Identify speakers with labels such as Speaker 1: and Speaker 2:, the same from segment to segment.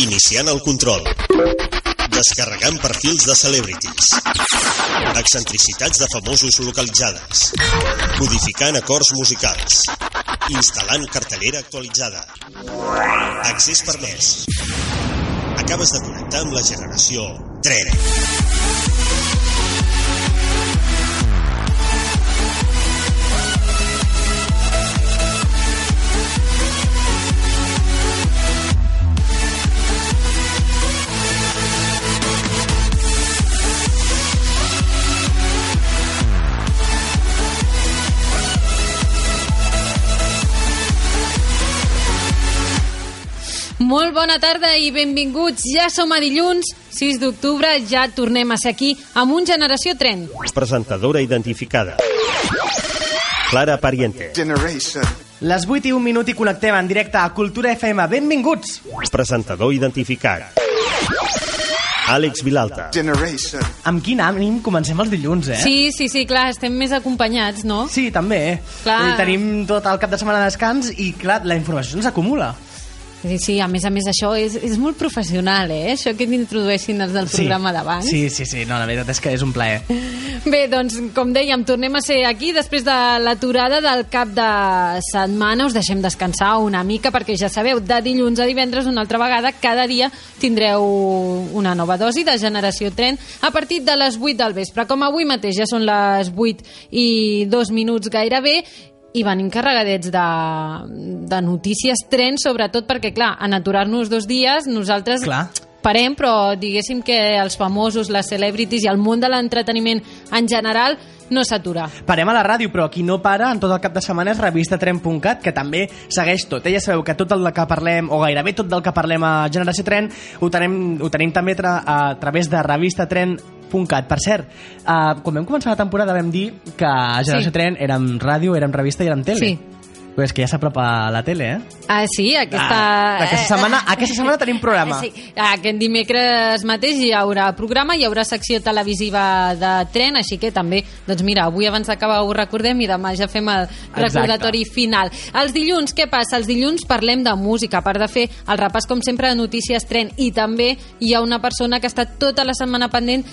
Speaker 1: Iniciant el control. Descarregant perfils de celebrities. Excentricitats de famosos localitzades. Codificant acords musicals. Instal·lant cartellera actualitzada. Accés permès. Acabes de connectar amb la generació Trene.
Speaker 2: Molt bona tarda i benvinguts. Ja som a dilluns, 6 d'octubre, ja tornem a ser aquí amb un Generació Tren.
Speaker 3: Eh?
Speaker 1: Presentadora identificada. Clara Pariente.
Speaker 4: generation.
Speaker 3: Les 8 i un minut i connectem en directe a Cultura FM. Benvinguts!
Speaker 1: Presentador identificat. Àlex Vilalta.
Speaker 4: Generation.
Speaker 3: Amb quin ànim comencem els dilluns, eh?
Speaker 2: Sí, sí, sí, clar, estem més acompanyats, no?
Speaker 3: Sí, també.
Speaker 2: Clar.
Speaker 3: I tenim tot el cap de setmana de descans i, clar, la informació ens acumula.
Speaker 2: Sí, sí, a més a més això és, és molt professional, eh? Això que t'introdueixin els del programa d'abans.
Speaker 3: Sí, sí, sí. No, la veritat és que és un plaer.
Speaker 2: Bé, doncs, com dèiem, tornem a ser aquí després de l'aturada del cap de setmana. Us deixem descansar una mica perquè ja sabeu, de dilluns a divendres una altra vegada, cada dia tindreu una nova dosi de Generació Tren a partir de les 8 del vespre. Com avui mateix ja són les 8 i 2 minuts gairebé, i venim carregadets de, de notícies tren, sobretot perquè, clar, en aturar-nos dos dies, nosaltres
Speaker 3: Clar.
Speaker 2: parem, però diguéssim que els famosos, les celebrities i el món de l'entreteniment en general no s'atura.
Speaker 3: Parem a la ràdio, però qui no para en tot el cap de setmana és revistatren.cat, que també segueix tot. Eh? Ja sabeu que tot el que parlem, o gairebé tot del que parlem a Generació Tren, ho tenim, ho tenim també tra a través de revistatren.cat. Per cert, uh, quan vam començar la temporada vam dir que a Generació
Speaker 2: Sí.
Speaker 3: sí. Tren érem ràdio, érem revista i érem tele.
Speaker 2: Sí.
Speaker 3: Però és que ja s'apropa la tele, eh?
Speaker 2: Ah, sí, aquesta...
Speaker 3: Ah, aquesta setmana- aquesta setmana tenim programa.
Speaker 2: eh, Sí, aquest dimecres mateix hi haurà programa, hi haurà secció televisiva de tren, així que també, doncs mira, avui abans d'acabar ho recordem i demà ja fem el recordatori final. Els dilluns, què passa? Els dilluns parlem de música, a part de fer el repàs, com sempre, de notícies tren, i també hi ha una persona que està tota la setmana pendent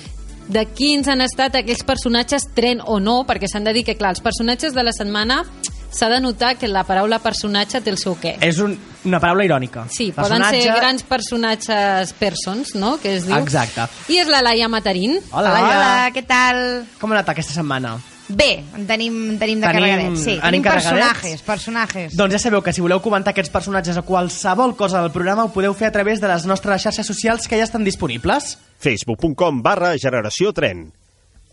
Speaker 2: de quins han estat aquells personatges tren o no, perquè s'han de dir que, clar, els personatges de la setmana s'ha de notar que la paraula personatge té el seu què.
Speaker 3: És un, una paraula irònica.
Speaker 2: Sí, poden ser grans personatges persons, no?, que es diu.
Speaker 3: Exacte.
Speaker 2: I és la Laia Matarín.
Speaker 3: Hola,
Speaker 5: Hola,
Speaker 3: Laia.
Speaker 5: què tal?
Speaker 3: Com ha anat aquesta setmana?
Speaker 5: Bé, en tenim, en tenim de
Speaker 3: Tenim-
Speaker 5: carregadets. Sí,
Speaker 3: anem
Speaker 5: tenim
Speaker 3: carregadets?
Speaker 5: personatges, personatges.
Speaker 3: Doncs ja sabeu que si voleu comentar aquests personatges o qualsevol cosa del programa ho podeu fer a través de les nostres xarxes socials que ja estan disponibles.
Speaker 1: facebook.com barra generació tren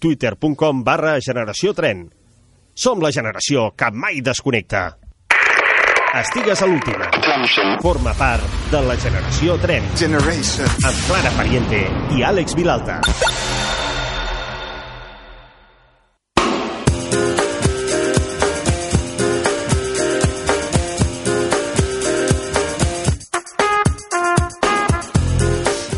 Speaker 1: twitter.com barra generació tren Som la generació que mai desconnecta. Estigues a l'última. Forma part de la generació tren
Speaker 4: Generation.
Speaker 1: amb Clara Pariente i Àlex Vilalta.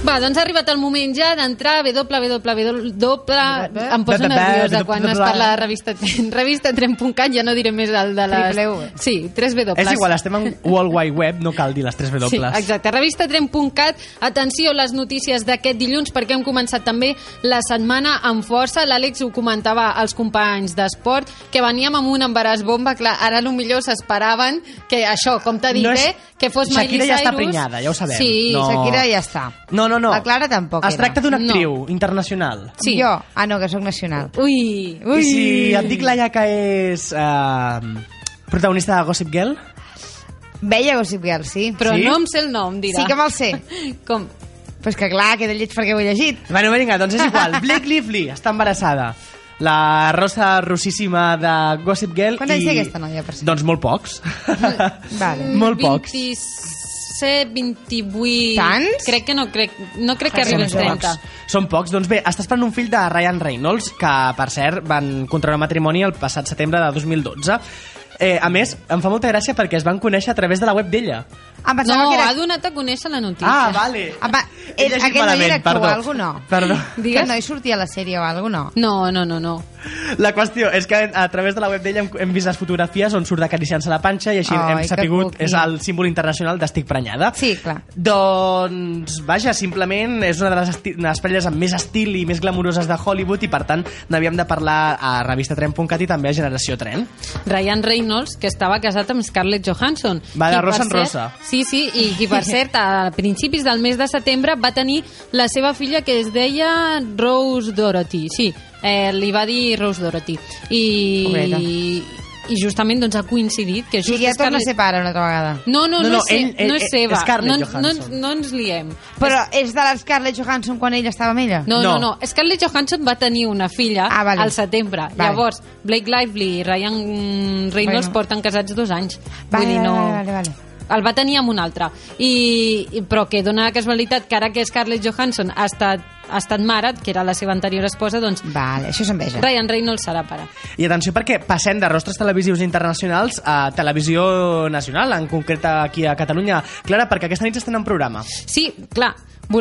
Speaker 2: Va, doncs ha arribat el moment ja d'entrar a www... Doble... Em poso
Speaker 3: Doble-
Speaker 2: nerviosa
Speaker 3: doble-
Speaker 2: quan
Speaker 3: doble-
Speaker 2: es parla de revista Tren. Revistatren.cat, ja no diré més el de les...
Speaker 5: Triple U.
Speaker 2: Sí, 3 W.
Speaker 3: És igual, estem en World Wide Web, no cal dir les 3 W.
Speaker 2: Sí, exacte. Revistatren.cat, atenció a les notícies d'aquest dilluns perquè hem començat també la setmana amb força. L'Àlex ho comentava als companys d'esport, que veníem amb un embaràs bomba. Clar, ara el millor s'esperaven que això, com t'ha dit,
Speaker 3: No és-
Speaker 2: eh? que fos
Speaker 3: Shakira
Speaker 2: Miley
Speaker 3: ja està
Speaker 2: Cyrus.
Speaker 3: prenyada, ja ho sabem.
Speaker 2: Sí,
Speaker 3: No.
Speaker 5: Shakira ja està.
Speaker 3: No, no, no.
Speaker 5: La Clara tampoc
Speaker 3: Es
Speaker 5: era.
Speaker 3: tracta d'una
Speaker 2: No.
Speaker 3: actriu internacional.
Speaker 2: sí.
Speaker 5: Jo? Ah, no, que sóc nacional.
Speaker 2: Ui,
Speaker 3: I
Speaker 2: ui.
Speaker 3: si et dic, Laia, que és eh, protagonista de Gossip Girl?
Speaker 5: Veia Gossip Girl, sí.
Speaker 2: Però
Speaker 5: Però...
Speaker 3: Sí?
Speaker 2: no em sé el nom, dirà.
Speaker 5: Sí que me'l sé.
Speaker 2: Com?
Speaker 5: Però és que clar, queda lleig perquè ho he llegit.
Speaker 3: Bueno, vinga, doncs és igual. Blake Lively està embarassada. La rosa rossíssima de Gossip Girl.
Speaker 5: Quants anys
Speaker 3: i...
Speaker 5: té aquesta noia, per cert?
Speaker 3: Doncs molt pocs.
Speaker 5: Vale.
Speaker 3: Molt pocs.
Speaker 2: 27, 28...
Speaker 5: Tants?
Speaker 2: Crec que no, crec, no crec que
Speaker 5: Ah,
Speaker 2: arribi als
Speaker 5: són
Speaker 2: 30.
Speaker 3: Són pocs. Doncs bé, està esperant un fill de Ryan Reynolds, que, per cert, van contraure matrimoni el passat setembre de 2012. Eh, a més, em fa molta gràcia perquè es van conèixer a través de la web d'ella.
Speaker 5: Em
Speaker 2: No,
Speaker 5: pensava que era...
Speaker 2: ha donat a conèixer la notícia.
Speaker 3: Ah, vale.
Speaker 5: Em va...
Speaker 3: He
Speaker 5: Era,
Speaker 3: llegit
Speaker 5: aquell noi
Speaker 3: malament,
Speaker 5: era actor
Speaker 3: perdó.
Speaker 5: o alguna cosa, no?
Speaker 3: Perdó.
Speaker 5: Digues? Que no hi sortia a la sèrie o alguna cosa, no?
Speaker 2: No, no, no, no.
Speaker 3: La qüestió és que a través de la web d'ella hem, hem vist les fotografies on surt acariciant-se la panxa i així
Speaker 5: Ai,
Speaker 3: hem
Speaker 5: que
Speaker 3: sapigut,
Speaker 5: cuqui.
Speaker 3: és el símbol internacional d'estic prenyada.
Speaker 5: Sí, clar.
Speaker 3: Doncs, vaja, simplement és una de les, esti- les parelles amb més estil i més glamuroses de Hollywood i, per tant, n'havíem de parlar a revistatren.cat i també a Generació Tren.
Speaker 2: Ryan Reynolds, que estava casat amb Scarlett Johansson.
Speaker 3: Va de
Speaker 2: Qui, per
Speaker 3: rosa en
Speaker 2: cert-
Speaker 3: rosa.
Speaker 2: Sí, sí, i qui, per cert, a principis del mes de setembre va tenir la seva filla que es deia Rose Dorothy. Sí, eh, li va dir Rose Dorothy.
Speaker 5: Pobreta.
Speaker 2: I, i justament doncs, ha coincidit que
Speaker 5: O
Speaker 2: just
Speaker 5: sigui, ja torna a
Speaker 2: Scarlett-
Speaker 5: ser pare una altra vegada.
Speaker 2: No, no, no,
Speaker 3: No,
Speaker 2: no,
Speaker 3: no,
Speaker 2: és, se-
Speaker 3: ell- ell-
Speaker 2: no és
Speaker 3: ell-
Speaker 2: seva.
Speaker 3: Scarlett
Speaker 2: no, ens- no, ens-
Speaker 3: Johansson.
Speaker 2: no ens liem.
Speaker 5: Però és de la Scarlett Johansson quan ella estava amb ella?
Speaker 2: No, no,
Speaker 3: No.
Speaker 2: no, Scarlett Johansson va tenir una filla
Speaker 5: Ah, vale.
Speaker 2: al setembre.
Speaker 5: Vale.
Speaker 2: Llavors, Blake Lively i Ryan Reynolds
Speaker 5: Bueno.
Speaker 2: porten casats dos anys.
Speaker 5: Vale,
Speaker 2: Vull dir, no...
Speaker 5: vale, vale, vale.
Speaker 2: El va tenir amb un altre. I, i- però que dona la casualitat que ara que Scarlett Johansson ha estat, ha estat mare, que era la seva anterior esposa, doncs
Speaker 5: Vale, això s'enveja.
Speaker 2: Ryan Reynolds serà pare.
Speaker 3: I atenció perquè passem de rostres televisius internacionals a televisió nacional, en concret aquí a Catalunya. Clara, perquè aquesta nit estan en programa.
Speaker 2: Sí, clar,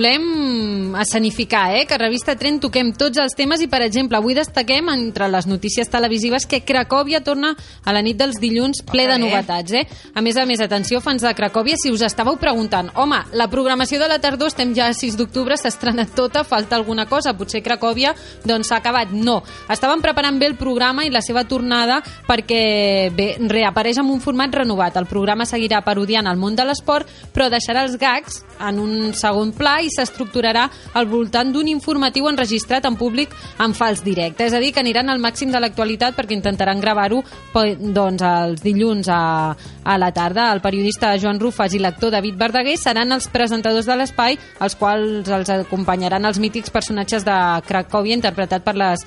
Speaker 2: volem escenificar, eh? Que a Revista Tren toquem tots els temes i, per exemple, avui destaquem entre les notícies televisives que Cracòvia torna a la nit dels dilluns ple de
Speaker 5: bé.
Speaker 2: novetats, eh? A més a més, atenció, fans de Cracòvia, si us estàveu preguntant, home, la programació de la tardor, estem ja a 6 d'octubre, s'ha estrenat tota, falta alguna cosa, potser Cracòvia, doncs s'ha acabat. No, estaven preparant bé el programa i la seva tornada perquè, bé, reapareix amb un format renovat. El programa seguirà parodiant el món de l'esport, però deixarà els gags en un segon pla i s'estructurarà al voltant d'un informatiu enregistrat en públic en fals directe. És a dir, que aniran al màxim de l'actualitat perquè intentaran gravar-ho pe- doncs, els dilluns a, a la tarda. El periodista Joan Rufas i l'actor David Verdaguer seran els presentadors de l'espai, els quals els acompanyaran els mítics personatges de Cracòvia interpretat per les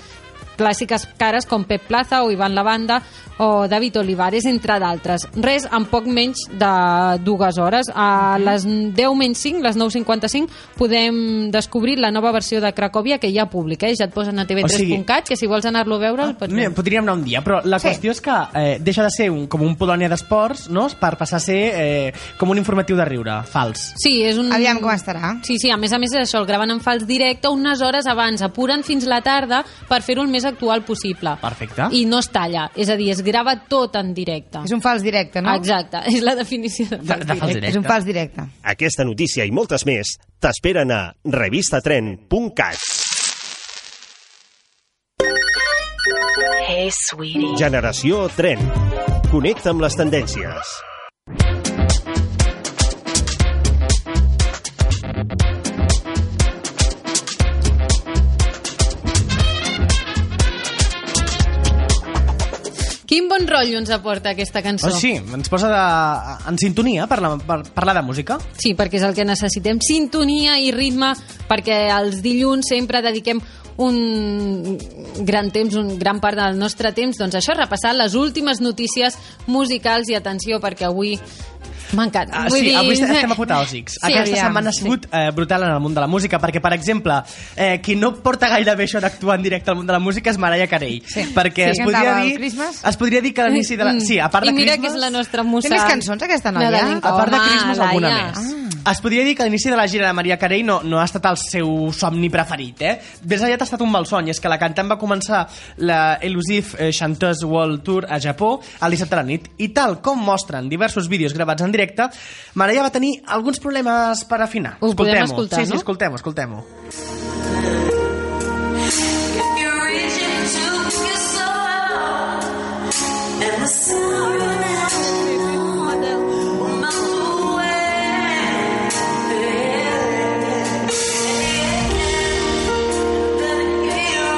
Speaker 2: clàssiques cares com Pep Plaza o Ivan Lavanda o David Olivares, entre d'altres. Res en poc menys de dues hores. A les 10 menys 5, les 9.55, podem descobrir la nova versió de Cracòvia que hi ha pública. Eh? Ja et posen a tv3.cat, que si vols anar-lo a veure el pots
Speaker 3: Ah, Mira,
Speaker 2: veure.
Speaker 3: podríem anar un dia, però la
Speaker 5: Sí.
Speaker 3: qüestió és que eh, deixa de ser un, com un Polònia d'esports no? per passar a ser eh, com un informatiu de riure, fals.
Speaker 2: Sí, és un...
Speaker 5: Aviam com estarà.
Speaker 2: Sí, sí, a més a més és això, el graven en fals directe unes hores abans, apuren fins la tarda per fer-ho el més actual possible.
Speaker 3: Perfecte.
Speaker 2: I no es talla, és a dir, es grava tot en directe.
Speaker 5: És un fals directe, no?
Speaker 2: Exacte, és la definició de fals
Speaker 3: de
Speaker 2: directe.
Speaker 3: fals directe.
Speaker 5: És un fals directe.
Speaker 1: Aquesta notícia i moltes més t'esperen a revistatren.cat.
Speaker 4: Hey, sweetie.
Speaker 1: Generació Tren. Connecta amb les tendències.
Speaker 2: Quin bon rotllo ens aporta aquesta cançó.
Speaker 3: Oh, sí, ens posa de, en sintonia per, la, per parlar de música.
Speaker 2: Sí, perquè és el que necessitem, sintonia i ritme, perquè els dilluns sempre dediquem un gran temps, un gran part del nostre temps, doncs això, repassar les últimes notícies musicals i atenció, perquè avui m'encanta.
Speaker 3: Ah,
Speaker 2: Vull
Speaker 3: sí,
Speaker 2: dir-
Speaker 3: avui estem apoteòsics.
Speaker 2: Sí,
Speaker 3: Sí, Aquesta
Speaker 2: aviam,
Speaker 3: setmana ha
Speaker 2: sí.
Speaker 3: sigut eh, brutal en el món de la música, perquè, per exemple, eh, qui no porta gaire bé això d'actuar en directe al món de la música és Mariah Carey.
Speaker 5: Sí.
Speaker 3: perquè es,
Speaker 5: Sí, cantava
Speaker 3: podria
Speaker 5: el
Speaker 3: dir,
Speaker 5: Christmas.
Speaker 3: es podria dir que a l'inici de la... Sí, a part de
Speaker 2: Mm. I mira
Speaker 3: Christmas...
Speaker 2: que és la nostra musa.
Speaker 5: Té més cançons, aquesta noia?
Speaker 2: nadalenca.
Speaker 3: A part de
Speaker 2: Home,
Speaker 3: Christmas, alguna
Speaker 2: Laia.
Speaker 3: més. Es podria dir que l'inici de la gira de Maria Carey no, no ha estat el seu somni preferit, eh? Més aviat ha estat un malson, i és que la cantant va començar la Elusive eh, Chanteuse World Tour a Japó el dissabte a la nit, i tal com mostren diversos vídeos gravats en directe, Maria va tenir alguns problemes per afinar.
Speaker 2: Ho podem
Speaker 3: Escoltem-ho.
Speaker 2: escoltar,
Speaker 3: sí,
Speaker 2: no?
Speaker 3: Sí, escoltem-ho, escoltem-ho.
Speaker 6: You're reaching to your soul and the sorrow that you know that will melt away. The hero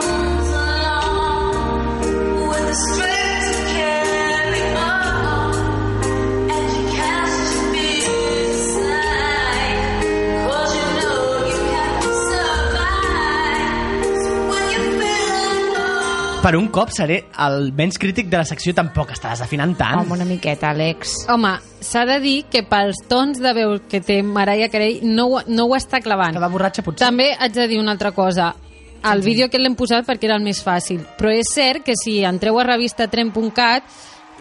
Speaker 6: comes along with the strength to carry on, and you cast your fears aside 'cause you know you have to survive. When you feel alone.
Speaker 3: Per un cop seré el menys crític de la secció, tampoc estàs afinant tant.
Speaker 5: Home, una miqueta, Àlex.
Speaker 2: Home, s'ha de dir que pels tons de veu que té Mariah Carey no, ho- no ho està clavant.
Speaker 3: Estava borratxa, potser.
Speaker 2: També haig de dir una altra cosa. El vídeo que l'hem posat perquè era el més fàcil. Però és cert que si entreu a revistatren.cat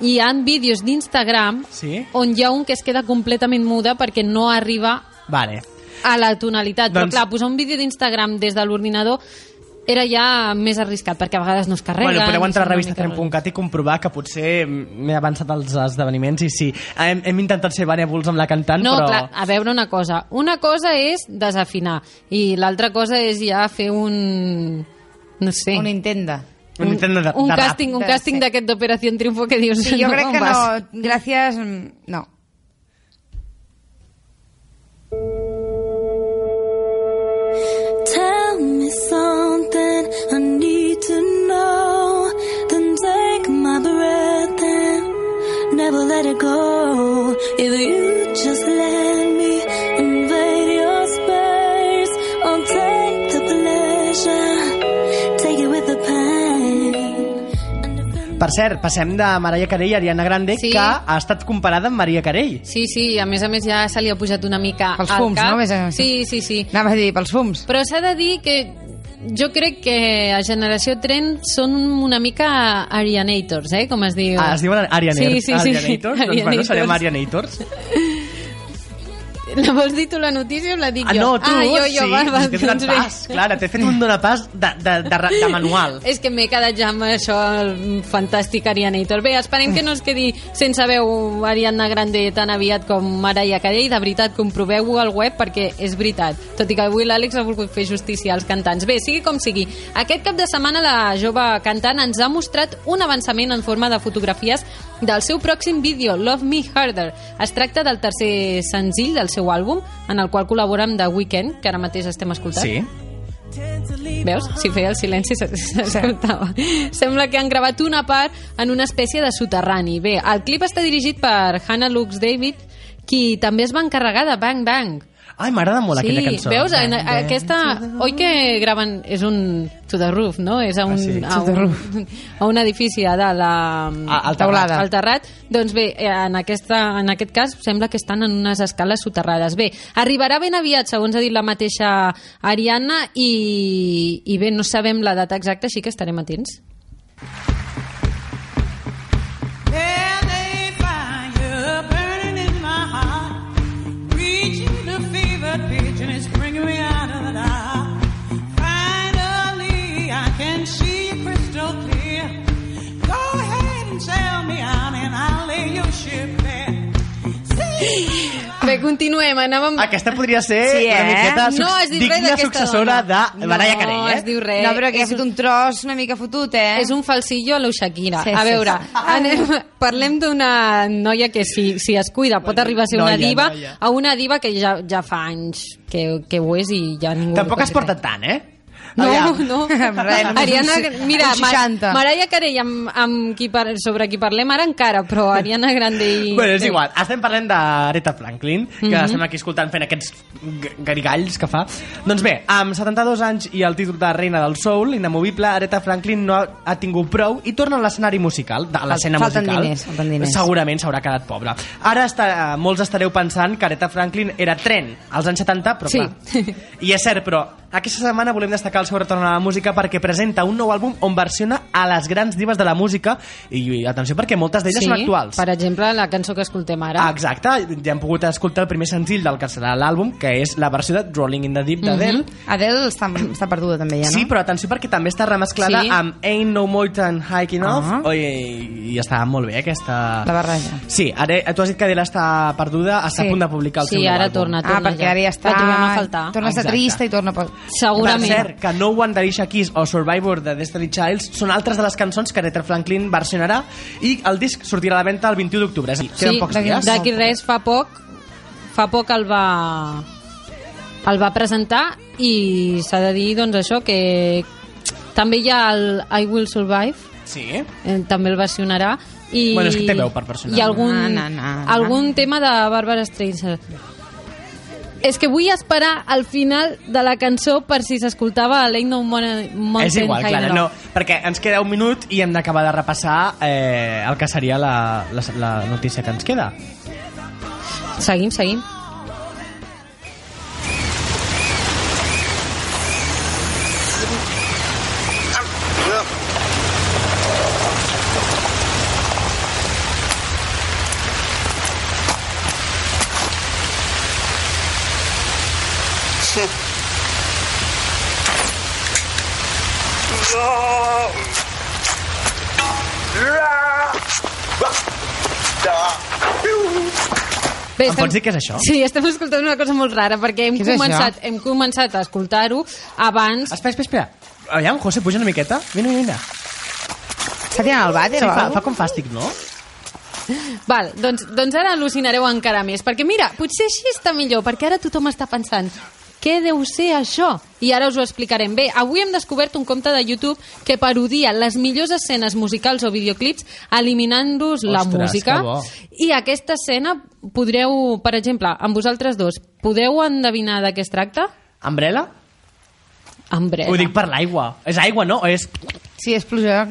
Speaker 2: i hi ha vídeos d'Instagram
Speaker 3: Sí?
Speaker 2: on hi ha un que es queda completament muda perquè no arriba
Speaker 3: Vale.
Speaker 2: a la tonalitat. Doncs...
Speaker 3: Doncs-
Speaker 2: Però clar, posar un vídeo d'Instagram des de l'ordinador era ja més arriscat, perquè a vegades no es carrega.
Speaker 3: Bueno, podeu entrar a
Speaker 2: no sé, una mica
Speaker 3: revista3.cat i comprovar que potser m'he avançat als esdeveniments i sí, hem, hem intentat ser benèvols amb la cantant,
Speaker 2: No,
Speaker 3: però...
Speaker 2: clar, a veure una cosa. Una cosa és desafinar i l'altra cosa és ja fer un... No sé.
Speaker 5: Un intent de...
Speaker 3: Un intent de-
Speaker 2: un
Speaker 3: de rap.
Speaker 2: càsting, un
Speaker 5: De-
Speaker 2: càsting
Speaker 5: sí.
Speaker 2: d'aquest d'Operació Triunfo que dius...
Speaker 5: Sí, jo crec
Speaker 2: on
Speaker 5: que no...
Speaker 2: vas.
Speaker 5: Gràcies... mm, No.
Speaker 6: Tell me something I need to know. Then take my breath and never let it go. If you just let me invade your space, I'll take the pleasure, take it with the pain. And if
Speaker 3: Per cert, passem de Mariah Carey a Ariana Grande,
Speaker 2: Sí.
Speaker 3: que ha estat comparada amb Mariah Carey.
Speaker 2: Sí, sí, a més a més ja se li ha pujat una mica
Speaker 5: Pels
Speaker 2: al
Speaker 5: fums,
Speaker 2: cap.
Speaker 5: no? Més a-
Speaker 2: Sí, sí, sí.
Speaker 5: Anava a dir pels fums.
Speaker 2: Però s'ha de dir que jo crec que a Generació Tren són una mica Arianators, eh? Com es diu.
Speaker 3: Ah, es diuen Arianators.
Speaker 2: Sí, sí, sí.
Speaker 3: Arianators? Doncs bueno, serem Arianators.
Speaker 2: La vols dir tu la notícia o la dic
Speaker 3: Ah,
Speaker 2: jo?
Speaker 3: no, tu,
Speaker 2: ah, jo, jo,
Speaker 3: sí,
Speaker 2: va, va,
Speaker 3: t'he donat
Speaker 2: doncs bé.
Speaker 3: pas, clar, t'he fet un donapàs de, de, de, ra- de manual.
Speaker 2: És que m'he quedat ja amb això, el fantàstic Arianator. Bé, esperem que no es quedi sense veu Ariadna Grande tan aviat com Mariah Carey. De veritat, comproveu-ho al web perquè és veritat. Tot i que avui l'Àlex ha volgut fer justícia als cantants. Bé, sigui com sigui, aquest cap de setmana la jove cantant ens ha mostrat un avançament en forma de fotografies del seu pròxim vídeo, Love Me Harder. Es tracta del tercer senzill del seu àlbum, en el qual col·labora amb The Weeknd, que ara mateix estem escoltant.
Speaker 3: Sí.
Speaker 2: Veus? Si feia el silenci se- s'escoltava. Sembla que han gravat una part en una espècie de soterrani. Bé, el clip està dirigit per Hannah Lux David, qui també es va encarregar de Bang Bang.
Speaker 3: Ai, m'agrada molt aquella cançó.
Speaker 2: veus? En,
Speaker 3: Bang, bang.
Speaker 2: aquesta... Oi que graven... És un... To the roof, no? És a un,
Speaker 3: Ah, sí.
Speaker 2: a
Speaker 5: To the
Speaker 2: un, a un edifici a dalt, a,
Speaker 3: A- al terrat.
Speaker 2: Al terrat. Doncs bé, en, aquesta, en aquest cas sembla que estan en unes escales soterrades. Bé, arribarà ben aviat, segons ha dit la mateixa Ariadna, i, i bé, no sabem la data exacta, així que estarem atents.
Speaker 4: There's a fire burning in my heart, reaching the fever pitch, and it's bringing me out of the dark. Finally, I can see you crystal clear. Go ahead and sail me out, and I'll lay your ship there.
Speaker 2: Bé, continuem. Anàvem...
Speaker 3: Aquesta podria ser
Speaker 5: Sí,
Speaker 3: una
Speaker 5: eh?
Speaker 3: miqueta suc-
Speaker 2: No es diu res
Speaker 3: digna
Speaker 2: d'aquesta
Speaker 3: successora
Speaker 2: dona.
Speaker 3: de Mariah
Speaker 2: No
Speaker 3: Carey, eh?
Speaker 2: es diu res.
Speaker 5: No, però
Speaker 2: És
Speaker 5: que ha fet un tros una mica fotut, eh?
Speaker 2: És un falsillo a lo Shakira.
Speaker 5: Sí,
Speaker 2: a
Speaker 5: sí,
Speaker 2: veure,
Speaker 5: sí.
Speaker 2: anem, parlem d'una noia que si, si es cuida pot arribar a ser una
Speaker 3: noia,
Speaker 2: diva,
Speaker 3: noia.
Speaker 2: a una diva que ja, ja fa anys que, que ho és i ja ningú...
Speaker 3: Tampoc
Speaker 2: li
Speaker 3: es
Speaker 2: pot dir
Speaker 3: porta tant, eh?
Speaker 2: res. No,
Speaker 3: Aviam.
Speaker 2: no.
Speaker 5: Res, només
Speaker 2: Ariana,
Speaker 5: un-
Speaker 2: mira,
Speaker 5: un
Speaker 2: Mar
Speaker 5: 60.
Speaker 2: Mariah Carey, amb, amb qui par sobre qui parlem ara encara, però Ariana Grande i...
Speaker 3: Bueno, és igual. Estem parlant d'Aretha Franklin, que
Speaker 5: Mhm.
Speaker 3: mm -hmm. estem aquí escoltant fent aquests g- garigalls que fa. Doncs bé, amb 72 anys i el títol de Reina del Soul, inamovible, Aretha Franklin no ha, ha tingut prou i torna a l'escenari musical, de- a l'escena
Speaker 5: Falten
Speaker 3: musical.
Speaker 5: diners, falten diners.
Speaker 3: Segurament s'haurà quedat pobra. Ara està, molts estareu pensant que Aretha Franklin era tren als anys 70, però
Speaker 2: Sí.
Speaker 3: clar. I és cert, però aquesta setmana volem destacar el seu retorn a la música perquè presenta un nou àlbum on versiona a les grans divas de la música i, i atenció perquè moltes d'elles
Speaker 2: sí,
Speaker 3: són actuals.
Speaker 2: Per exemple, la cançó que escoltem ara.
Speaker 3: Ah, exacte, ja hem pogut escoltar el primer senzill del que serà l'àlbum, que és la versió de Rolling in the Deep d'Adele. Mm -hmm.
Speaker 5: Adele està, està perduda també Mhm. ja, no?
Speaker 3: Sí, però atenció perquè també està remesclada
Speaker 2: Sí.
Speaker 3: sí. amb Ain't No More Than High Enough.
Speaker 5: Ah.
Speaker 3: Uh -huh. I, I està molt bé aquesta...
Speaker 5: La barreja.
Speaker 3: Sí, ara, eh, tu has dit que Adele està perduda, està
Speaker 5: Sí.
Speaker 3: a punt de publicar el
Speaker 2: Sí,
Speaker 3: seu nou
Speaker 2: ara
Speaker 3: àlbum.
Speaker 2: torna.
Speaker 5: Ah, perquè ara ja està...
Speaker 2: La trobem a faltar.
Speaker 5: Torna a ser
Speaker 3: Exacte.
Speaker 5: trista i torna... Pel...
Speaker 3: Per
Speaker 2: Segurament.
Speaker 3: cert, que No One d'Alicia Keys o Survivor de Destiny Childs són altres de les cançons que Aretha Franklin versionarà i el disc sortirà a la venda el 21 d'octubre. Sí, queden pocs
Speaker 2: d'aquí-
Speaker 3: dies.
Speaker 2: D'aquí res, fa poc, fa poc el va el va presentar i s'ha de dir doncs això que també hi ha el I Will Survive
Speaker 3: Sí.
Speaker 2: eh, també el versionarà i,
Speaker 3: Bueno, és que té veu per versionar.
Speaker 2: i algun,
Speaker 5: Na, na, na, na.
Speaker 2: algun tema de Barbara Streisand és que vull esperar al final de la cançó per si s'escoltava l'Ain No Mon- Mountain
Speaker 3: És igual,
Speaker 2: High
Speaker 3: Clara,
Speaker 2: Enough.
Speaker 3: no, perquè ens queda un minut i hem d'acabar de repassar eh, el que seria la, la, la notícia que ens queda.
Speaker 2: Seguim, seguim. Bé,
Speaker 3: Em pots dir què és això?
Speaker 2: Sí, estem escoltant una cosa molt rara, perquè hem,
Speaker 5: Què és
Speaker 2: començat, hem començat a escoltar-ho abans...
Speaker 3: Espera, espera, espera. Aviam, José, puja una miqueta. Vine, vine, vine.
Speaker 5: Està tirant el vàter
Speaker 3: Sí,
Speaker 5: o
Speaker 3: fa,
Speaker 5: alguna
Speaker 3: fa com fàstic, no?
Speaker 2: Val, doncs, doncs ara al·lucinareu encara més, perquè mira, potser així està millor, perquè ara tothom està pensant què deu ser això? I ara us ho explicarem. Bé, avui hem descobert un compte de YouTube que parodia les millors escenes musicals o videoclips eliminant-los la
Speaker 3: Ostres,
Speaker 2: música.
Speaker 3: que bo.
Speaker 2: I aquesta escena podreu, per exemple, amb vosaltres dos, podeu endevinar de què es tracta?
Speaker 3: Umbrella?
Speaker 2: Umbrella.
Speaker 3: Ho dic per l'aigua. És aigua, no? O és
Speaker 5: Sí, és pluja.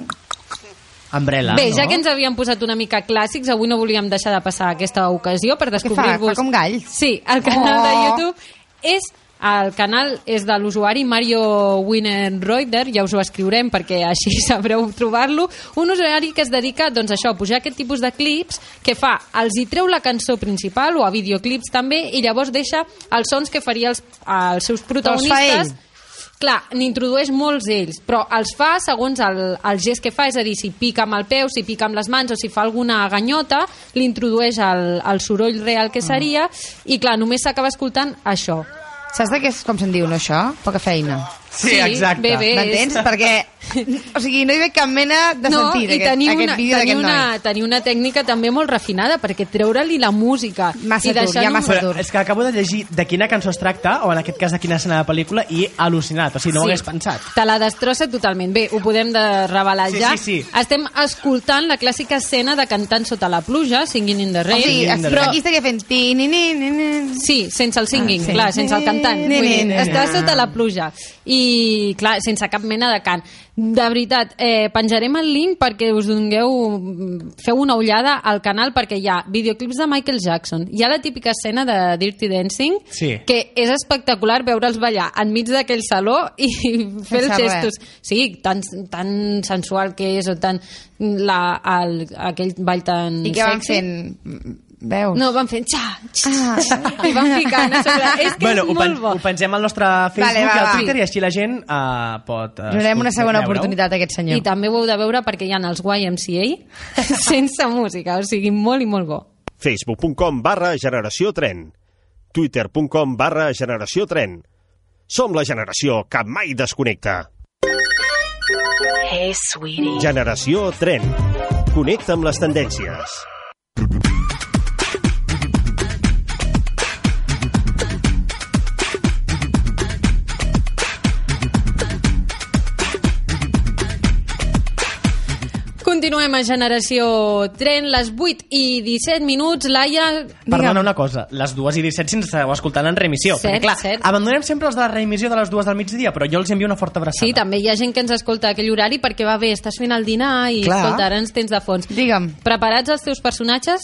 Speaker 3: umbrella,
Speaker 2: Bé,
Speaker 3: no?
Speaker 2: ja que ens havíem posat una mica clàssics, avui no volíem deixar de passar aquesta ocasió per descobrir-vos...
Speaker 5: fa? Fa com gall?
Speaker 2: Sí, el canal de
Speaker 5: Oh.
Speaker 2: YouTube és... El canal és de l'usuari Mario Winenreuter, ja us ho escriurem perquè així sabreu trobar-lo, un usuari que es dedica doncs, això, a pujar aquest tipus de clips que fa, els hi treu la cançó principal o a videoclips també i llavors deixa els sons que faria els, els
Speaker 5: Doncs
Speaker 2: seus protagonistes.
Speaker 5: ell.
Speaker 2: Clar, n'introdueix molts ells, però els fa segons el, el gest que fa, és a dir, si pica amb el peu, si pica amb les mans o si fa alguna ganyota, l'introdueix el, el soroll real que seria i clar, només s'acaba escoltant això.
Speaker 5: Saps de què és, com se'n diu, no, això? Poca feina.
Speaker 3: Sí, exacte.
Speaker 2: Bé, bé,
Speaker 5: M'entens? Perquè, o sigui, no hi ve cap mena de
Speaker 2: no,
Speaker 5: sentit
Speaker 2: i
Speaker 5: aquest,
Speaker 2: tenir
Speaker 5: aquest
Speaker 2: una, tenir,
Speaker 5: vídeo d'aquest
Speaker 2: una,
Speaker 5: noi.
Speaker 2: tenir una tècnica també molt refinada, perquè treure-li la música...
Speaker 5: Massa
Speaker 2: i
Speaker 5: dur,
Speaker 2: deixar
Speaker 5: hi ha
Speaker 2: només-
Speaker 5: massa
Speaker 3: Però
Speaker 5: dur.
Speaker 3: és que acabo de llegir de quina cançó es tracta, o en aquest cas de quina escena de pel·lícula, i al·lucinat, o sigui, no ho hagués pensat.
Speaker 2: Te la destrossa totalment. Bé, ho podem de revelar
Speaker 3: Sí,
Speaker 2: ja.
Speaker 3: sí, sí.
Speaker 2: Estem escoltant la clàssica escena de cantant sota la pluja, Singing in the
Speaker 5: O
Speaker 2: Rain.
Speaker 5: sigui,
Speaker 3: Rain,
Speaker 5: aquí,
Speaker 3: però-
Speaker 5: aquí estaria fent... Ti, ni, ni, ni, ni.
Speaker 2: Sí, sense el singing, ah, sí. clar, sense el cantant.
Speaker 5: Ni,
Speaker 2: Vull
Speaker 5: ni,
Speaker 2: dir,
Speaker 5: ni,
Speaker 2: està
Speaker 5: ni.
Speaker 2: sota la pluja. I, clar, sense cap mena de cant. De veritat, eh, penjarem el link perquè us dongueu... Feu una ullada al canal perquè hi ha videoclips de Michael Jackson. Hi ha la típica escena de Dirty Dancing,
Speaker 3: Sí.
Speaker 2: que és espectacular veure'ls ballar enmig d'aquell saló i fer els
Speaker 5: Sense res.
Speaker 2: gestos. Sí, tan, tan sensual que és, o tan... La, el, aquell ball tan
Speaker 5: I què van
Speaker 2: sexy.
Speaker 5: fent? Veus?
Speaker 2: No, van fent xa, xa, xa,
Speaker 5: Ah.
Speaker 2: i van picant a sobre. És que
Speaker 3: bueno,
Speaker 2: és
Speaker 3: ho,
Speaker 2: molt bo.
Speaker 3: ho pensem al nostre Facebook
Speaker 5: Vale, va,
Speaker 3: i al
Speaker 5: va.
Speaker 3: Twitter i així la gent uh, pot... Uh,
Speaker 5: Donarem una segona
Speaker 3: veure-ho.
Speaker 5: oportunitat a aquest
Speaker 2: I
Speaker 5: senyor.
Speaker 2: també ho heu de veure perquè hi ha els YMCA sense música, o sigui, molt i molt bo.
Speaker 1: facebook.com barra generació tren, twitter.com barra generació tren. Som la generació que mai desconnecta.
Speaker 7: Hey, sweetie.
Speaker 1: Generació tren. Connecta amb les tendències.
Speaker 2: Continuem a Generació Tren, les 8 i 17 minuts. Laia,
Speaker 3: Perdona una cosa, les dues i 17 si ens esteu escoltant en remissió.
Speaker 2: Cert,
Speaker 3: perquè, clar,
Speaker 2: cert.
Speaker 3: abandonem sempre els de la remissió de les dues del migdia, però jo els envio una forta abraçada.
Speaker 2: sí, també hi ha gent que ens escolta a aquell horari perquè va bé, estàs fent el dinar i,
Speaker 5: Clar.
Speaker 2: escolta, ara ens tens de fons.
Speaker 5: Digue'm.
Speaker 2: Preparats els teus personatges?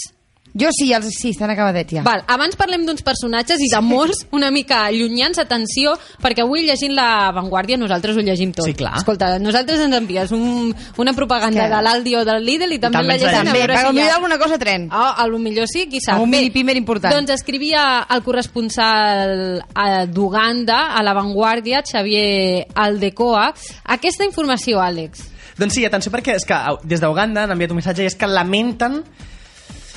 Speaker 5: Jo sí, els sí, estan acabadet ja.
Speaker 2: Val, abans parlem d'uns personatges i de molts una mica allunyants, atenció, perquè avui llegint La Vanguardia nosaltres ho llegim tot.
Speaker 3: Sí, clar.
Speaker 2: Escolta, nosaltres ens envies un, una propaganda
Speaker 5: Clar.
Speaker 2: de l'Aldi o del Lidl i també,
Speaker 3: també
Speaker 2: la
Speaker 3: ens la
Speaker 2: llegim a
Speaker 5: També,
Speaker 3: llegim.
Speaker 2: veure
Speaker 5: per
Speaker 2: si
Speaker 5: si
Speaker 2: hi ha...
Speaker 5: alguna cosa tren.
Speaker 2: Oh, a lo millor sí, qui sap.
Speaker 5: Amb un
Speaker 2: Bé,
Speaker 5: mini-pimer important.
Speaker 2: Doncs escrivia el corresponsal eh, d'Uganda, a La Vanguardia, Xavier Aldecoa. Aquesta informació, Àlex.
Speaker 3: Doncs sí, atenció, perquè és que au, des d'Uganda han enviat un missatge i és que lamenten...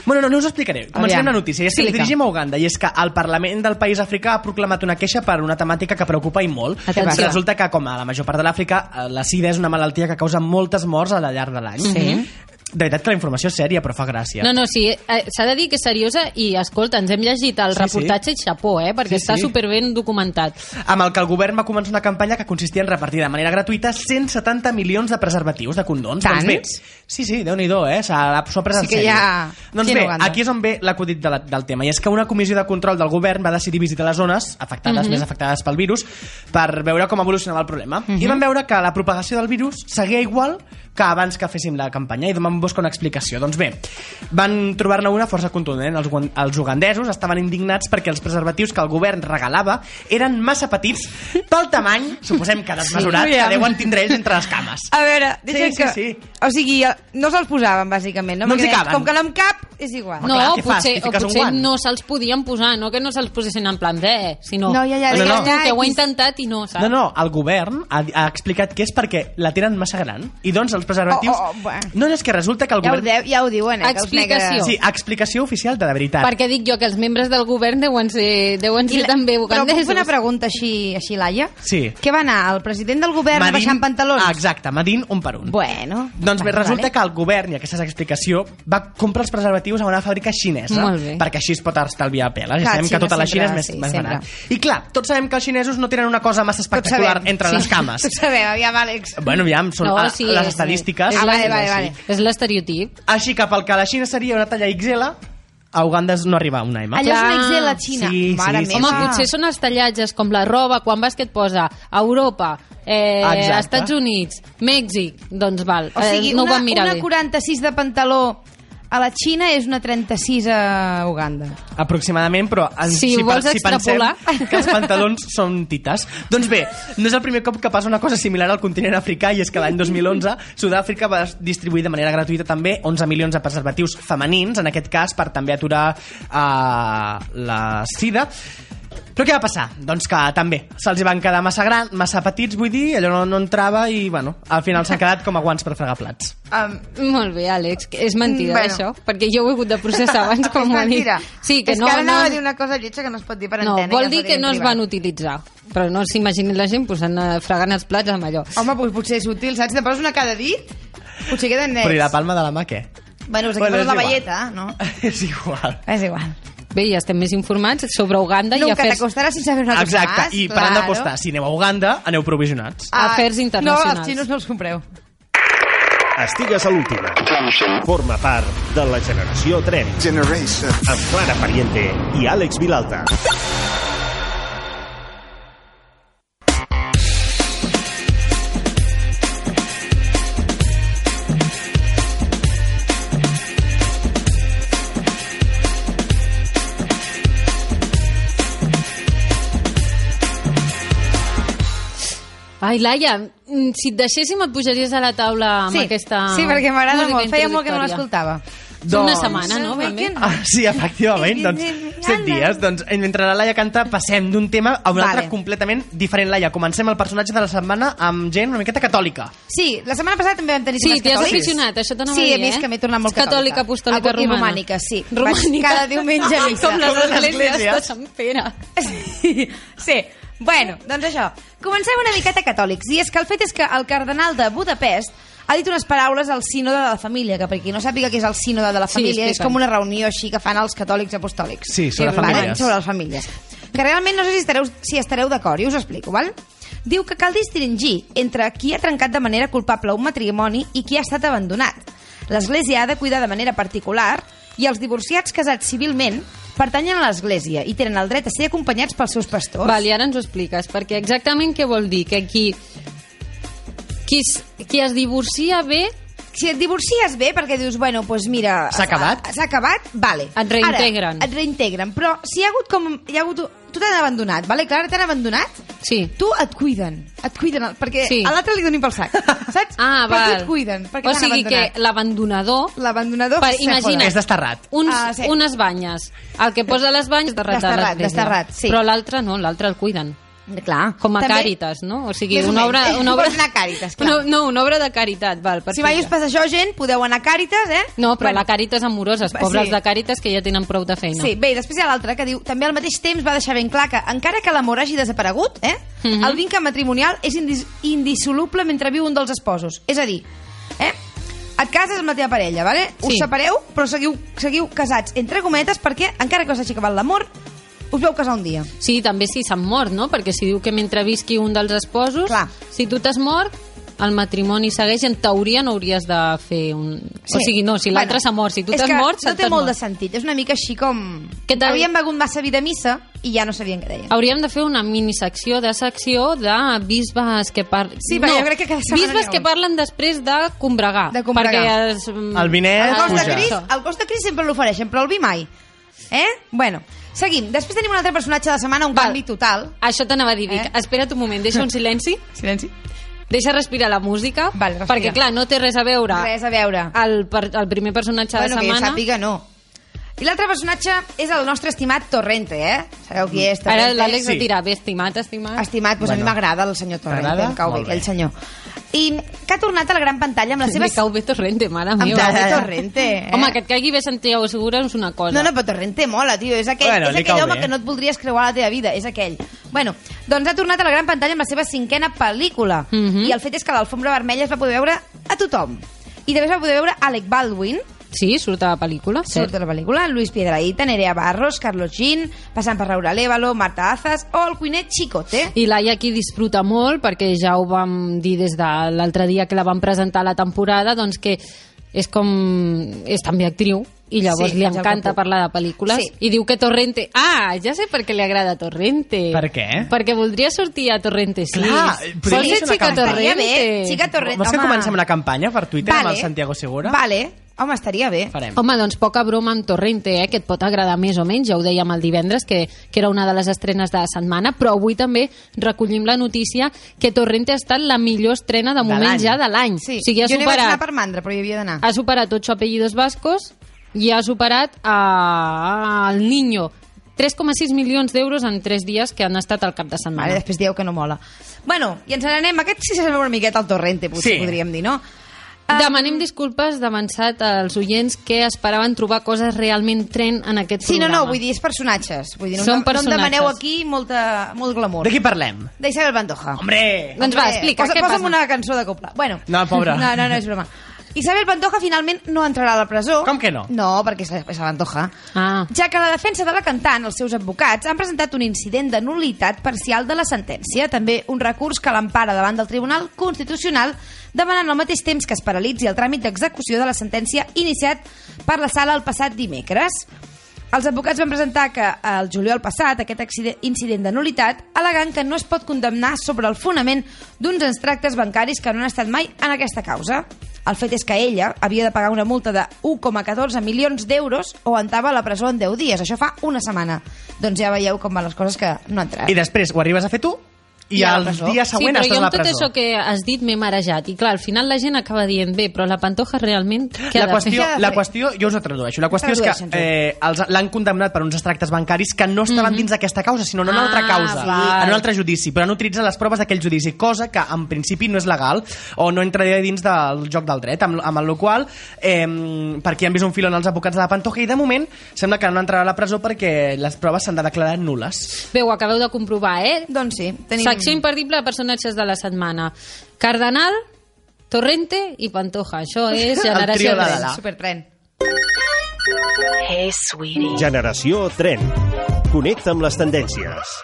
Speaker 3: Bueno, no, no us ho explicaré. Comencem
Speaker 5: Aviam.
Speaker 3: una notícia. I és que ens
Speaker 2: Explica.
Speaker 3: dirigim a Uganda i és que el Parlament del país africà ha proclamat una queixa per una temàtica que preocupa i molt.
Speaker 2: Atenció.
Speaker 3: Resulta que, com a la major part de l'Àfrica, eh, la sida és una malaltia que causa moltes morts a la llarg de l'any. Sí. De veritat que la informació és sèria, però fa gràcia.
Speaker 2: No, no, sí, eh, s'ha de dir que és seriosa i, escolta, ens hem llegit el
Speaker 3: Sí, sí.
Speaker 2: reportatge i xapó, eh, perquè
Speaker 3: Sí,
Speaker 2: està
Speaker 3: sí.
Speaker 2: superben documentat.
Speaker 3: amb el que el govern va començar una campanya que consistia en repartir de manera gratuïta 170 milions de preservatius, de condons.
Speaker 5: Tants?
Speaker 3: Doncs bé, sí, sí, déu-n'hi-do, eh? S'ha s'ho ha pres
Speaker 5: Sí
Speaker 3: en
Speaker 5: que
Speaker 3: sèrio.
Speaker 5: hi ha
Speaker 3: Doncs
Speaker 5: gent eh?
Speaker 3: bé,
Speaker 5: Uganda.
Speaker 3: aquí és on ve l'acudit de la, del tema. I és que una comissió de control del govern va decidir visitar les zones afectades,
Speaker 5: Mhm.
Speaker 3: més afectades pel virus, per veure com
Speaker 5: Mhm.
Speaker 3: evolucionava el problema. I van veure que la propagació del virus seguia igual que abans que féssim la campanya. I van em busca una explicació. Doncs bé, van trobar-ne una força contundent. Els, guan- els ugandesos estaven indignats perquè els preservatius que el govern regalava eren massa petits pel tamany, suposem que desmesurat,
Speaker 5: Sí,
Speaker 3: que
Speaker 5: aviam.
Speaker 3: deuen tindre ells entre les cames.
Speaker 5: A veure, deixa'm
Speaker 3: sí,
Speaker 5: que...
Speaker 3: sí.
Speaker 5: O sigui, no se'ls posaven, bàsicament. No,
Speaker 3: No els hi
Speaker 5: Perquè
Speaker 3: caben.
Speaker 5: Com que no em cap, és igual.
Speaker 2: No,
Speaker 3: clar, què fas?
Speaker 2: potser,
Speaker 3: Li
Speaker 2: o
Speaker 3: fiques un
Speaker 2: potser
Speaker 3: guant?
Speaker 2: no se'ls podien posar, no que no se'ls posessin en plan de, sinó...
Speaker 5: No, ja, ja,
Speaker 2: Perquè
Speaker 3: ja,
Speaker 2: escolteu,
Speaker 5: ja,
Speaker 2: ho he
Speaker 5: i-
Speaker 2: intentat i no, saps?
Speaker 3: No, no, el govern ha, ha explicat que és perquè la tenen massa gran i doncs els preservatius...
Speaker 5: Oh, oh, oh, bé.
Speaker 3: no, no, és que resulta que el
Speaker 5: Ja ho,
Speaker 3: govern...
Speaker 5: deu, ja ho diuen, eh? que els
Speaker 2: Explicació.
Speaker 5: negres-
Speaker 3: Sí, explicació oficial de, de veritat.
Speaker 2: Perquè dic jo que els membres del govern deuen ser, deuen
Speaker 5: I
Speaker 2: ser
Speaker 5: la-
Speaker 2: també
Speaker 5: Però puc
Speaker 2: ugandesos.
Speaker 5: fer una pregunta així, així Laia?
Speaker 3: Sí.
Speaker 5: Què va anar? El president del govern
Speaker 3: Madin-
Speaker 5: baixant pantalons?
Speaker 3: Ah, exacte, Madin un per un.
Speaker 5: Bueno.
Speaker 3: Doncs bé,
Speaker 5: Vale,
Speaker 3: resulta
Speaker 5: vale.
Speaker 3: que el govern, i aquesta és l'explicació, va comprar els preservatius a una fàbrica xinesa,
Speaker 2: Molt bé.
Speaker 3: perquè així es pot estalviar peles.
Speaker 5: Clar,
Speaker 3: Ja sabem
Speaker 5: Xina
Speaker 3: que tota la Xina és
Speaker 5: sempre,
Speaker 3: més,
Speaker 5: sí,
Speaker 3: més
Speaker 5: sempre.
Speaker 3: barat. I clar, tots sabem que els xinesos no tenen una cosa massa espectacular
Speaker 5: sabem,
Speaker 3: entre
Speaker 5: sí.
Speaker 3: les cames.
Speaker 5: Ho sabem, aviam, Àlex.
Speaker 3: Bueno, ja són
Speaker 2: No,
Speaker 3: a-
Speaker 2: sí,
Speaker 3: les
Speaker 2: és-
Speaker 3: estadístiques.
Speaker 5: Ah, vale, vale, vale.
Speaker 2: És l'estereotip.
Speaker 3: Així que pel que a la Xina seria una talla XL, a Uganda no arriba a una M.
Speaker 5: Allò és una
Speaker 2: Clar.
Speaker 5: XL a Xina.
Speaker 3: Sí,
Speaker 5: Mare
Speaker 3: sí, sí,
Speaker 5: meva.
Speaker 2: Home, potser són els tallatges com la roba, quan vas que et posa a Europa, eh,
Speaker 3: Exacte.
Speaker 2: Estats Units, Mèxic, doncs val,
Speaker 5: O sigui,
Speaker 2: eh, no ho
Speaker 5: una,
Speaker 2: van mirar
Speaker 5: una
Speaker 2: bé.
Speaker 5: 46 de pantaló a la Xina és una 36 a Uganda.
Speaker 3: aproximadament, però en,
Speaker 2: Si
Speaker 3: si,
Speaker 2: vols
Speaker 3: pa- si pensem
Speaker 2: extrapolar.
Speaker 3: que els pantalons són tites. Doncs bé, no és el primer cop que passa una cosa similar al continent africà i és que l'any 2011 Sud-àfrica va distribuir de manera gratuïta també 11 milions de preservatius femenins, en aquest cas per també aturar eh, la sida. Però què va passar? Doncs que també se'ls hi van quedar massa gran, massa petits, vull dir, allò no, no entrava i, bueno, al final s'han quedat com a guants per fregar plats.
Speaker 5: Um,
Speaker 2: Molt bé, Àlex, que és mentida,
Speaker 5: Bueno.
Speaker 2: bueno. això, perquè jo ho he hagut de processar abans com ho ha dit. Sí, que
Speaker 5: és
Speaker 2: no,
Speaker 5: que ara
Speaker 2: no,
Speaker 5: anava a dir una cosa lletja que no es pot dir per
Speaker 2: no,
Speaker 5: antena. i
Speaker 2: vol
Speaker 5: ens
Speaker 2: dir
Speaker 5: ho
Speaker 2: que
Speaker 5: diem
Speaker 2: no es
Speaker 5: privat.
Speaker 2: van utilitzar, però no s'imaginin la gent posant, eh, fregant els plats amb allò.
Speaker 5: Home, doncs potser és útil, saps? Te poses una cada dit, potser queden nets.
Speaker 3: Però i la palma de la mà, què?
Speaker 5: Bueno, us aquí
Speaker 3: Bueno,
Speaker 5: poses
Speaker 3: és
Speaker 5: la
Speaker 3: igual.
Speaker 5: velleta, no?
Speaker 3: És igual.
Speaker 5: És igual.
Speaker 2: Bé, ja estem més informats sobre Uganda i
Speaker 5: Nunca
Speaker 2: afers
Speaker 5: t'acostaràs sense saber una cosa
Speaker 3: Exacte,
Speaker 5: más.
Speaker 3: i parant
Speaker 5: claro.
Speaker 3: d'apostar, si aneu a Uganda, aneu provisionats.
Speaker 5: Ah,
Speaker 2: Afers internacionals.
Speaker 5: No, els xinos no els compreu.
Speaker 1: Estigues a l'última. Forma part de la generació 3.
Speaker 8: Generation.
Speaker 1: Amb Clara Pariente i Àlex Vilalta.
Speaker 2: Ai, Laia, mm, si et deixéssim et pujaries a la taula amb
Speaker 5: sí,
Speaker 2: aquesta...
Speaker 5: sí, perquè m'agrada
Speaker 2: música
Speaker 5: molt. Feia molt que no
Speaker 2: introductòria.
Speaker 5: l'escoltava.
Speaker 2: Una
Speaker 3: Doncs-
Speaker 2: setmana, no? Ben bé.
Speaker 3: Ah, sí, efectivament, doncs, set dies. Doncs, mentre la Laia canta, passem d'un tema a un
Speaker 5: Vale.
Speaker 3: altre completament diferent, Laia. Comencem el personatge de la setmana amb gent una miqueta catòlica.
Speaker 5: Sí, la setmana passada també vam tenir
Speaker 2: Sí,
Speaker 5: temes
Speaker 2: t'hi has
Speaker 5: catòlics.
Speaker 2: aficionat, això t'anava
Speaker 5: Sí,
Speaker 2: a dir,
Speaker 5: a més
Speaker 2: eh?
Speaker 5: que m'he tornat molt
Speaker 2: És catòlica,
Speaker 5: catòlica.
Speaker 2: apostòlica,
Speaker 5: Ah, i
Speaker 2: romana.
Speaker 5: romànica, sí. Vaig
Speaker 2: Romànica.
Speaker 5: cada diumenge a missa.
Speaker 2: Com les
Speaker 3: les
Speaker 2: esglésies de
Speaker 3: esglésies.
Speaker 2: Sant Pere.
Speaker 5: Sí, sí. Bueno, doncs això. Comencem una miqueta catòlics. I és que el fet és que el cardenal de Budapest ha dit unes paraules al sínode de la família, que per qui no sàpiga què és el sínode de la
Speaker 2: Sí,
Speaker 5: família, és
Speaker 2: explica'm.
Speaker 5: com una reunió així que fan els catòlics apostòlics.
Speaker 3: Sí, sobre
Speaker 5: vale?
Speaker 3: famílies.
Speaker 5: Sobre les famílies. Que realment no sé si estareu, si estareu d'acord, i us explico, val? Diu que cal distingir entre qui ha trencat de manera culpable un matrimoni i qui ha estat abandonat. L'Església ha de cuidar de manera particular i els divorciats casats civilment pertanyen a l'Església i tenen el dret a ser acompanyats pels seus pastors.
Speaker 2: Val, i ara ens ho expliques, perquè exactament què vol dir? Que qui, qui, es, qui es divorcia bé
Speaker 5: Si et divorcies bé, perquè dius, bueno, doncs mira... Ah,
Speaker 3: S'ha acabat?
Speaker 5: S'ha acabat, vale.
Speaker 2: Et reintegren.
Speaker 5: Ara, et reintegren, però si hi ha hagut com... Hi ha hagut, tu t'han abandonat, vale? Clara, t'han abandonat?
Speaker 2: Sí.
Speaker 5: Tu et cuiden, et cuiden, el- perquè
Speaker 2: Sí.
Speaker 5: sí. a l'altre li donin pel sac, saps?
Speaker 2: Ah,
Speaker 5: Però
Speaker 2: val.
Speaker 5: tu et cuiden, perquè
Speaker 2: o
Speaker 5: t'han
Speaker 2: sigui que
Speaker 5: abandonat.
Speaker 2: l'abandonador...
Speaker 5: L'abandonador
Speaker 2: Per-
Speaker 5: se
Speaker 2: imagina't.
Speaker 5: joda.
Speaker 3: És desterrat.
Speaker 2: Uns,
Speaker 5: Ah,
Speaker 2: ah,
Speaker 5: sí.
Speaker 2: sí. Unes banyes. El que posa les banyes de ratar
Speaker 5: Desterrat,
Speaker 2: l'església.
Speaker 5: desterrat, sí.
Speaker 2: Però l'altre no, l'altre el cuiden.
Speaker 5: Clar.
Speaker 2: Com a
Speaker 5: També-
Speaker 2: Càritas, no? O sigui,
Speaker 5: Més o
Speaker 2: una
Speaker 5: menys.
Speaker 2: obra... Una obra...
Speaker 5: Pots anar a Càritas, clar.
Speaker 2: No, no, una obra de caritat, val.
Speaker 5: Si
Speaker 2: perfecte.
Speaker 5: mai us passa això, gent, podeu anar a Càritas, eh?
Speaker 2: No, però la Càritas amoroses,
Speaker 5: Va,
Speaker 2: pobres
Speaker 5: sí.
Speaker 2: de Càritas que ja tenen prou de feina.
Speaker 5: Sí, bé, i després hi ha l'altre que diu, també al mateix temps va deixar ben clar que encara que l'amor hagi desaparegut, eh,
Speaker 2: Mhm.
Speaker 5: el vincle matrimonial és indis indissoluble mentre viu un dels esposos. És a dir, eh, et cases amb la teva parella, vale? us
Speaker 2: Sí.
Speaker 5: separeu, però seguiu, seguiu casats, entre cometes, perquè encara que us hagi acabat l'amor, us veu casar un dia.
Speaker 2: Sí, també si s'han mort, no? Perquè si diu que mentre visqui un dels esposos,
Speaker 5: Clar.
Speaker 2: si tu t'has mort, el matrimoni segueix, en teoria no hauries de fer un... Sí. O sigui, no, si l'altre s'ha mort, si tu
Speaker 5: és
Speaker 2: t'has
Speaker 5: que
Speaker 2: mort,
Speaker 5: no
Speaker 2: s'ha
Speaker 5: té
Speaker 2: t'has
Speaker 5: molt
Speaker 2: mort.
Speaker 5: de sentit. És una mica així com...
Speaker 2: Què tal?
Speaker 5: Havien begut massa vi de missa i ja no sabien què deien.
Speaker 2: Hauríem de fer una minissecció de secció de bisbes que parlen...
Speaker 5: Sí, perquè jo crec que cada setmana n'hi
Speaker 2: Bisbes
Speaker 5: ha
Speaker 2: que
Speaker 5: un.
Speaker 2: parlen després de combregar.
Speaker 5: De combregar.
Speaker 2: Perquè mm, es...
Speaker 3: El vinet
Speaker 5: El
Speaker 3: Ah,
Speaker 5: cos de
Speaker 3: puja.
Speaker 5: Cris, el cos de Cris sempre l'ofereixen, però el vi mai. Eh? Bueno, seguim. Després tenim un altre personatge de la setmana, un
Speaker 2: Val.
Speaker 5: canvi total.
Speaker 2: Això t'anava a dir, Vic.
Speaker 5: Eh?
Speaker 2: Eh? Espera't un moment, deixa un silenci,
Speaker 5: Silenci.
Speaker 2: deixa respirar la música,
Speaker 5: Val, respira.
Speaker 2: perquè, clar, no té res a veure
Speaker 5: Res a veure.
Speaker 2: el, per, el primer personatge Ah, de
Speaker 5: bueno, que jo
Speaker 2: setmana.
Speaker 5: sàpiga, no. I l'altre personatge és el nostre estimat Torrente, eh? Sabeu qui és
Speaker 2: Mm.
Speaker 5: Torrente?
Speaker 2: Ara l'Àlex
Speaker 3: Sí.
Speaker 2: sí. dirà, bé, estimat, estimat.
Speaker 5: Estimat, doncs a mi
Speaker 3: Bueno.
Speaker 5: m'agrada el senyor Torrente,
Speaker 3: T'agrada?
Speaker 5: em cau bé,
Speaker 3: Molt bé.
Speaker 5: aquell senyor. I que ha tornat a la gran pantalla amb
Speaker 2: Me
Speaker 5: les seves...
Speaker 2: cau bé Torrente, mare
Speaker 5: Em
Speaker 2: meva.
Speaker 5: cau bé Torrente, eh?
Speaker 2: Home, que et caigui bé Santiago Segura és una cosa.
Speaker 5: No, no, però Torrente mola, tio. És aquell,
Speaker 3: Bueno,
Speaker 5: és
Speaker 3: li
Speaker 5: aquell
Speaker 3: cau
Speaker 5: home
Speaker 3: bé.
Speaker 5: que no et voldries creuar a la teva vida. És aquell. Bueno, doncs ha tornat a la gran pantalla amb la seva cinquena pel·lícula.
Speaker 2: Mhm.
Speaker 5: I el fet és que l'alfombra vermella es va poder veure a tothom. I també es va poder veure Alec Baldwin,
Speaker 2: Sí, surt a la pel·lícula.
Speaker 5: surt de la pel·lícula, Luis Piedrahita, Nerea Barros, Carlos Jean, passant per Raúl Alévalo, Marta Azas o el cuiner Chicote.
Speaker 2: I l'Aia aquí disfruta molt perquè ja ho vam dir des de l'altre dia que la vam presentar a la temporada, doncs que és com... és també actriu i llavors
Speaker 5: Sí,
Speaker 2: li
Speaker 5: és el que
Speaker 2: encanta
Speaker 5: puc.
Speaker 2: parlar de pel·lícules
Speaker 5: Sí.
Speaker 2: i diu que Torrente... Ah, ja sé per què li agrada Torrente.
Speaker 3: Per què?
Speaker 2: Perquè voldria sortir a Torrente 6.
Speaker 3: Clar, podria
Speaker 2: Vols ser
Speaker 3: ser una
Speaker 2: Chica
Speaker 3: campanya.
Speaker 5: Estaria
Speaker 2: Torrente?
Speaker 5: bé, Chica Torrente,
Speaker 3: Vols que
Speaker 5: home.
Speaker 3: comencem una campanya per Twitter amb el Santiago Segura?
Speaker 5: Vale, home, estaria bé.
Speaker 3: Farem.
Speaker 2: Home, doncs poca broma amb Torrente, eh, que et pot agradar més o menys, ja ho dèiem el divendres, que, que era una de les estrenes de la setmana, però avui també recollim la notícia que Torrente ha estat la millor estrena de moment
Speaker 3: l'any.
Speaker 2: ja de l'any.
Speaker 5: Sí,
Speaker 2: O sigui, ha
Speaker 5: jo n'hi vaig anar
Speaker 2: superat,
Speaker 5: per mandra, però hi havia d'anar.
Speaker 2: ha superat 8 apellidos vascos i ha superat a... el Niño. 3,6 milions d'euros en 3 dies que han estat al cap de
Speaker 3: Mm.
Speaker 5: Vale,
Speaker 2: setmana.
Speaker 5: després dieu que no mola. Bueno, i ens n'anem. Aquest sí que se veu una miqueta al torrente, potser
Speaker 3: Sí.
Speaker 5: podríem dir, no?
Speaker 2: Demanem disculpes d'avançat als oients que esperaven trobar coses realment tren en aquest
Speaker 5: Sí, no,
Speaker 2: programa.
Speaker 5: no, vull dir, és personatges. Vull dir, no,
Speaker 2: Són
Speaker 5: no, no em demaneu
Speaker 2: personatges.
Speaker 5: aquí molta, molt glamour.
Speaker 3: De qui parlem?
Speaker 5: D'Isabel Pantoja.
Speaker 3: Hombre!
Speaker 2: Doncs va, explica,
Speaker 5: posa,
Speaker 2: què
Speaker 5: posa'm
Speaker 2: passa?
Speaker 5: una cançó de copla. Bueno.
Speaker 3: No, pobra.
Speaker 5: No, no, no, és broma. Isabel Pantoja finalment no entrarà a la presó.
Speaker 3: Com que no?
Speaker 5: No, perquè és Isabel Pantoja.
Speaker 2: Ah.
Speaker 5: Ja que la defensa de la cantant, els seus advocats, han presentat un incident de nulitat parcial de la sentència, també un recurs que l'empara davant del Tribunal Constitucional, demanant al mateix temps que es paralitzi el tràmit d'execució de la sentència iniciat per la sala el passat dimecres. Els advocats van presentar que el juliol passat aquest accide- incident de nulitat al·legant que no es pot condemnar sobre el fonament d'uns extractes bancaris que no han estat mai en aquesta causa. El fet és que ella havia de pagar una multa de 1,14 milions d'euros o entava a la presó en 10 dies. Això fa una setmana. Doncs ja veieu com van les coses que no entraran.
Speaker 3: I després ho arribes a fer tu i,
Speaker 5: I a la
Speaker 3: el
Speaker 5: presó.
Speaker 3: dia següent
Speaker 2: sí, però
Speaker 3: estàs
Speaker 2: jo
Speaker 3: a la
Speaker 2: amb tot
Speaker 3: presó.
Speaker 2: això que has dit m'he marejat i clar, al final la gent acaba dient bé, però la Pantoja realment què ha
Speaker 3: la
Speaker 2: de
Speaker 3: qüestió,
Speaker 5: Què ha de
Speaker 3: la
Speaker 5: fer?
Speaker 3: qüestió, jo us ho tradueixo. La qüestió és que
Speaker 5: Tradueixen-ho.
Speaker 3: eh, els- l'han condemnat per uns extractes bancaris que no estaven dins d'aquesta causa, sinó en una
Speaker 2: Mhm. Ah,
Speaker 3: altra causa,
Speaker 2: val.
Speaker 3: en un altre judici, però han utilitzat les proves d'aquell judici, cosa que en principi no és legal o no entraria dins del joc del dret, amb, amb el qual eh, per qui han vist un fil en els advocats de la Pantoja i de moment sembla que no entrarà a la presó perquè les proves s'han de declarar nules.
Speaker 2: fer? Bé, ho acabeu de comprovar, eh?
Speaker 5: Doncs sí,
Speaker 2: Tenim... Secció imperdible de personatges de la setmana. Cardenal, Torrente i Pantoja. Això és
Speaker 3: trio
Speaker 2: Generació
Speaker 3: de
Speaker 2: Dret.
Speaker 3: la-
Speaker 5: Supertren.
Speaker 7: Hey, sweetie.
Speaker 1: Generació Tren. Connecta amb les tendències.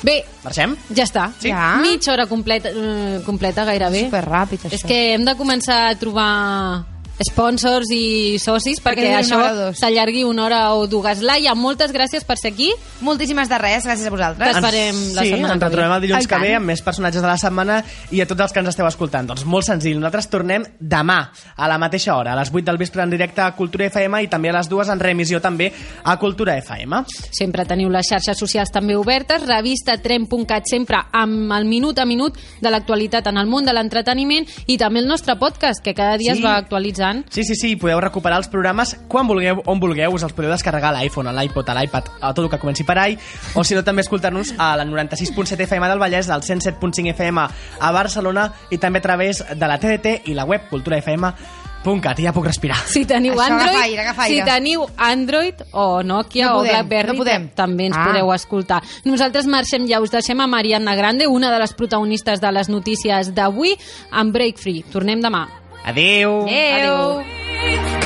Speaker 2: Bé,
Speaker 3: Marxem?
Speaker 2: ja està.
Speaker 5: Sí. Ja.
Speaker 2: Mitja hora completa, eh, completa gairebé.
Speaker 5: Superràpid, això.
Speaker 2: És que hem de començar a trobar sponsors i socis perquè,
Speaker 5: Perquè duri una
Speaker 2: això
Speaker 5: hora o dos.
Speaker 2: s'allargui una hora o dues. Laia, moltes gràcies per ser aquí.
Speaker 5: Moltíssimes de res, gràcies a vosaltres.
Speaker 2: Ens farem la
Speaker 3: sí,
Speaker 2: setmana
Speaker 3: ens
Speaker 2: que
Speaker 3: retrobem
Speaker 2: ve.
Speaker 3: el dilluns
Speaker 5: Ai,
Speaker 3: que ve
Speaker 5: tant.
Speaker 3: amb més personatges de la setmana i a tots els que ens esteu escoltant. Doncs molt senzill, nosaltres tornem demà a la mateixa hora, a les 8 del vespre en directe a Cultura FM i també a les dues en remissió també a Cultura FM.
Speaker 2: Sempre teniu les xarxes socials també obertes, revistatren.cat sempre amb el minut a minut de l'actualitat en el món de l'entreteniment i també el nostre podcast, que cada dia
Speaker 3: Sí.
Speaker 2: es va actualitzant.
Speaker 3: Sí, sí, sí, podeu recuperar els programes quan vulgueu, on vulgueu, us els podeu descarregar a l'iPhone, a l'iPod, a l'iPad, a tot el que comenci per ahí, o si no també escoltar-nos a la 96.7 FM del Vallès, al 107.5 FM a Barcelona i també a través de la TDT i la web culturafm.cat. I ja puc respirar.
Speaker 2: Si teniu
Speaker 5: Això, agafa
Speaker 2: Android,
Speaker 5: aire, agafa aire.
Speaker 2: si teniu Android o Nokia
Speaker 5: No
Speaker 2: o
Speaker 5: podem,
Speaker 2: BlackBerry,
Speaker 5: no podem.
Speaker 2: tam- també ens
Speaker 5: Ah.
Speaker 2: podeu escoltar. Nosaltres marxem ja, us deixem a Mariana Grande, una de les protagonistes de les notícies d'avui, amb Break Free. Tornem demà.
Speaker 3: Adeu!
Speaker 2: Adéu.
Speaker 7: Thank